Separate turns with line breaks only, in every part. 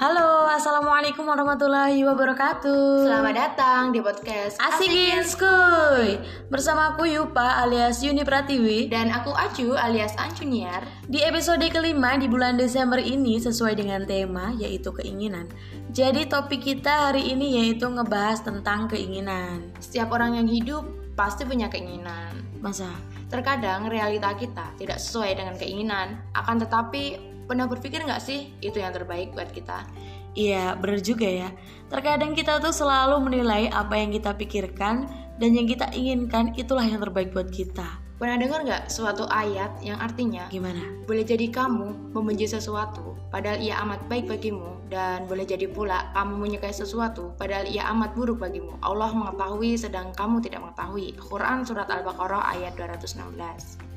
Halo, assalamualaikum warahmatullahi wabarakatuh.
Selamat datang di podcast
Asikin Skuy Bersama aku Yupa alias Yuni Pratiwi
dan aku Acu alias Ancuniar.
Di episode kelima di bulan Desember ini sesuai dengan tema yaitu keinginan Jadi topik kita hari ini yaitu ngebahas tentang keinginan
Setiap orang yang hidup pasti punya keinginan.
Masa?
Terkadang realita kita tidak sesuai dengan keinginan, akan tetapi pernah berpikir nggak sih itu yang terbaik buat kita?
Iya bener juga ya Terkadang kita tuh selalu menilai apa yang kita pikirkan Dan yang kita inginkan itulah yang terbaik buat kita
Pernah dengar nggak suatu ayat yang artinya
Gimana?
boleh jadi kamu membenci sesuatu padahal ia amat baik bagimu dan boleh jadi pula kamu menyukai sesuatu padahal ia amat buruk bagimu. Allah mengetahui sedang kamu tidak mengetahui. Quran surat Al-Baqarah ayat 216.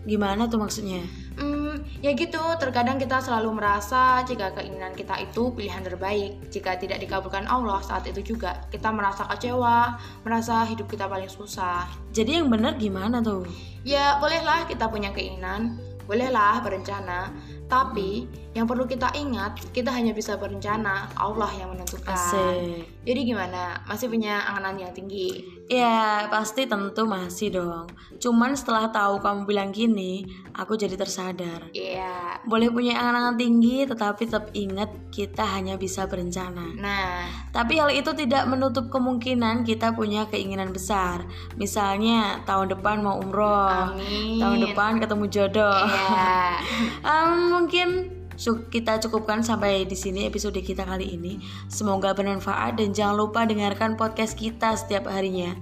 Gimana tuh maksudnya?
Hmm, ya gitu, terkadang kita selalu merasa jika keinginan kita itu pilihan terbaik. Jika tidak dikabulkan Allah saat itu juga, kita merasa kecewa, merasa hidup kita paling susah.
Jadi yang bener gimana tuh?
Ya, bolehlah kita punya keinginan, bolehlah berencana, tapi yang perlu kita ingat, kita hanya bisa berencana, Allah yang menentukan.
Asik
Jadi gimana? Masih punya anganan yang tinggi?
Ya, pasti tentu masih dong. Cuman setelah tahu kamu bilang gini, aku jadi tersadar.
Iya.
Boleh punya angan-angan tinggi, tetapi tetap ingat kita hanya bisa berencana.
Nah,
Tapi hal itu tidak menutup kemungkinan kita punya keinginan besar. Misalnya tahun depan mau umroh,
amin.
tahun depan ketemu jodoh.
Iya.
Em, mungkin su- kita cukupkan sampai di sini episode kita kali ini. Semoga bermanfaat dan jangan lupa dengarkan podcast kita setiap harinya.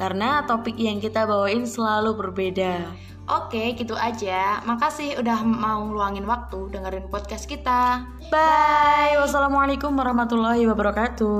Karena topik yang kita bawain selalu berbeda.
Oke, gitu aja. Makasih udah mau ngeluangin waktu dengerin podcast kita.
Bye. Wassalamualaikum warahmatullahi wabarakatuh.